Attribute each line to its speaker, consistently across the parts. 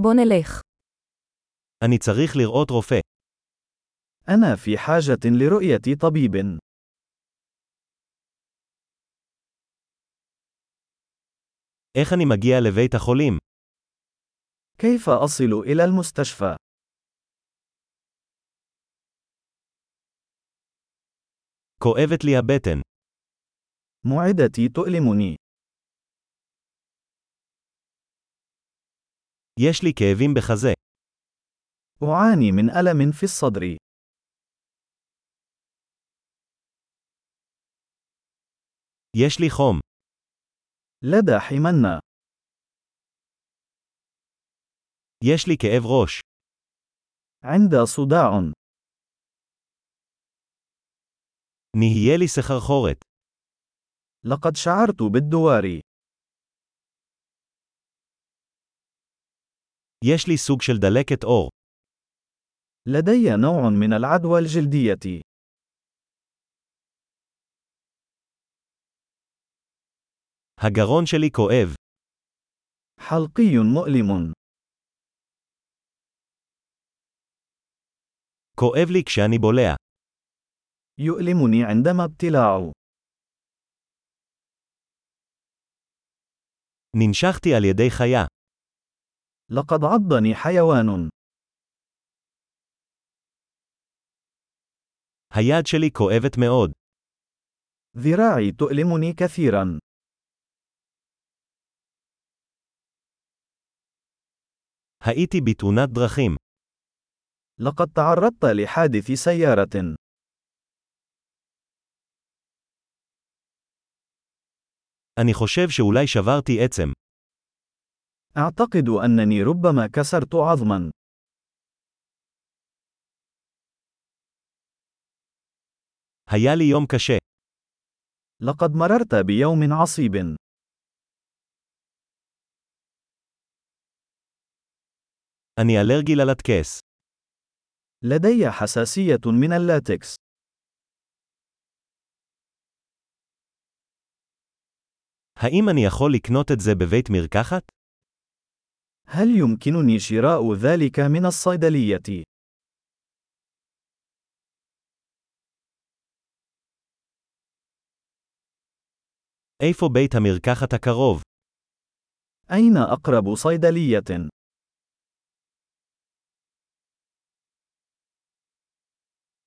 Speaker 1: בוא נלך.
Speaker 2: אני צריך לראות רופא.
Speaker 3: أنا في حاجة لرؤية طبيب.
Speaker 2: איך אני מגיע לבית החולים?
Speaker 3: كيف أصل إلى المستشفى؟
Speaker 2: כואבת לי הבטן.
Speaker 3: معدتي تؤلمني.
Speaker 2: יש לי כאבים בחזה.
Speaker 3: أعاني من ألم في الصدر.
Speaker 2: יש לי חום.
Speaker 3: لدى حمنة.
Speaker 2: יש לי כאב ראש.
Speaker 3: عند صداع.
Speaker 2: נהיה לי סחרחורת.
Speaker 3: لقد شعرت بالدوار.
Speaker 2: יש לי סוג של דלקת עור.
Speaker 3: لدي نوع من العدوى الجلدية.
Speaker 2: הגרון שלי כואב.
Speaker 3: حلقي مؤلم.
Speaker 2: כואב לי כשאני בולע.
Speaker 3: يؤلمني عندما ابتلاع.
Speaker 2: ננשכתי על ידי חיה.
Speaker 3: لقد عضني حيوان.
Speaker 2: היד שלי כואבת מאוד.
Speaker 3: ذراعي تؤلمني كثيرا.
Speaker 2: הייתי בתאונת דרכים.
Speaker 3: لقد تعرضت لحادث سيارة.
Speaker 2: אני חושב שאולי שברתי עצם.
Speaker 3: أعتقد أنني ربما كسرت عظما.
Speaker 2: היה לי יום קשה.
Speaker 3: لقد مررت بيوم عصيب.
Speaker 2: אני אלרגי ללטקס.
Speaker 3: لدي حساسية من اللاتكس.
Speaker 2: האם אני יכול לקנות את זה בבית מרקחת?
Speaker 3: هل يمكنني شراء ذلك من الصيدلية؟
Speaker 2: איפה בית המרקחת הקרוב?
Speaker 3: أين أقرب صيدلية؟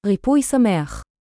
Speaker 1: ריפוי שמח.